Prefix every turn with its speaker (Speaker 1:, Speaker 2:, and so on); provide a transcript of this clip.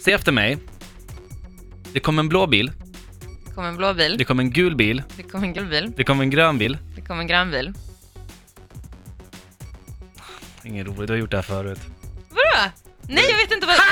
Speaker 1: Se efter mig. Det kom en blå bil,
Speaker 2: Det kom en blå bil.
Speaker 1: det kom en gul bil,
Speaker 2: Det kom en gul bil.
Speaker 1: det kom en grön bil.
Speaker 2: Det kom en grön bil.
Speaker 1: Ingen roligt, du har gjort det här förut.
Speaker 2: Vadå? Nej, jag vet inte vad...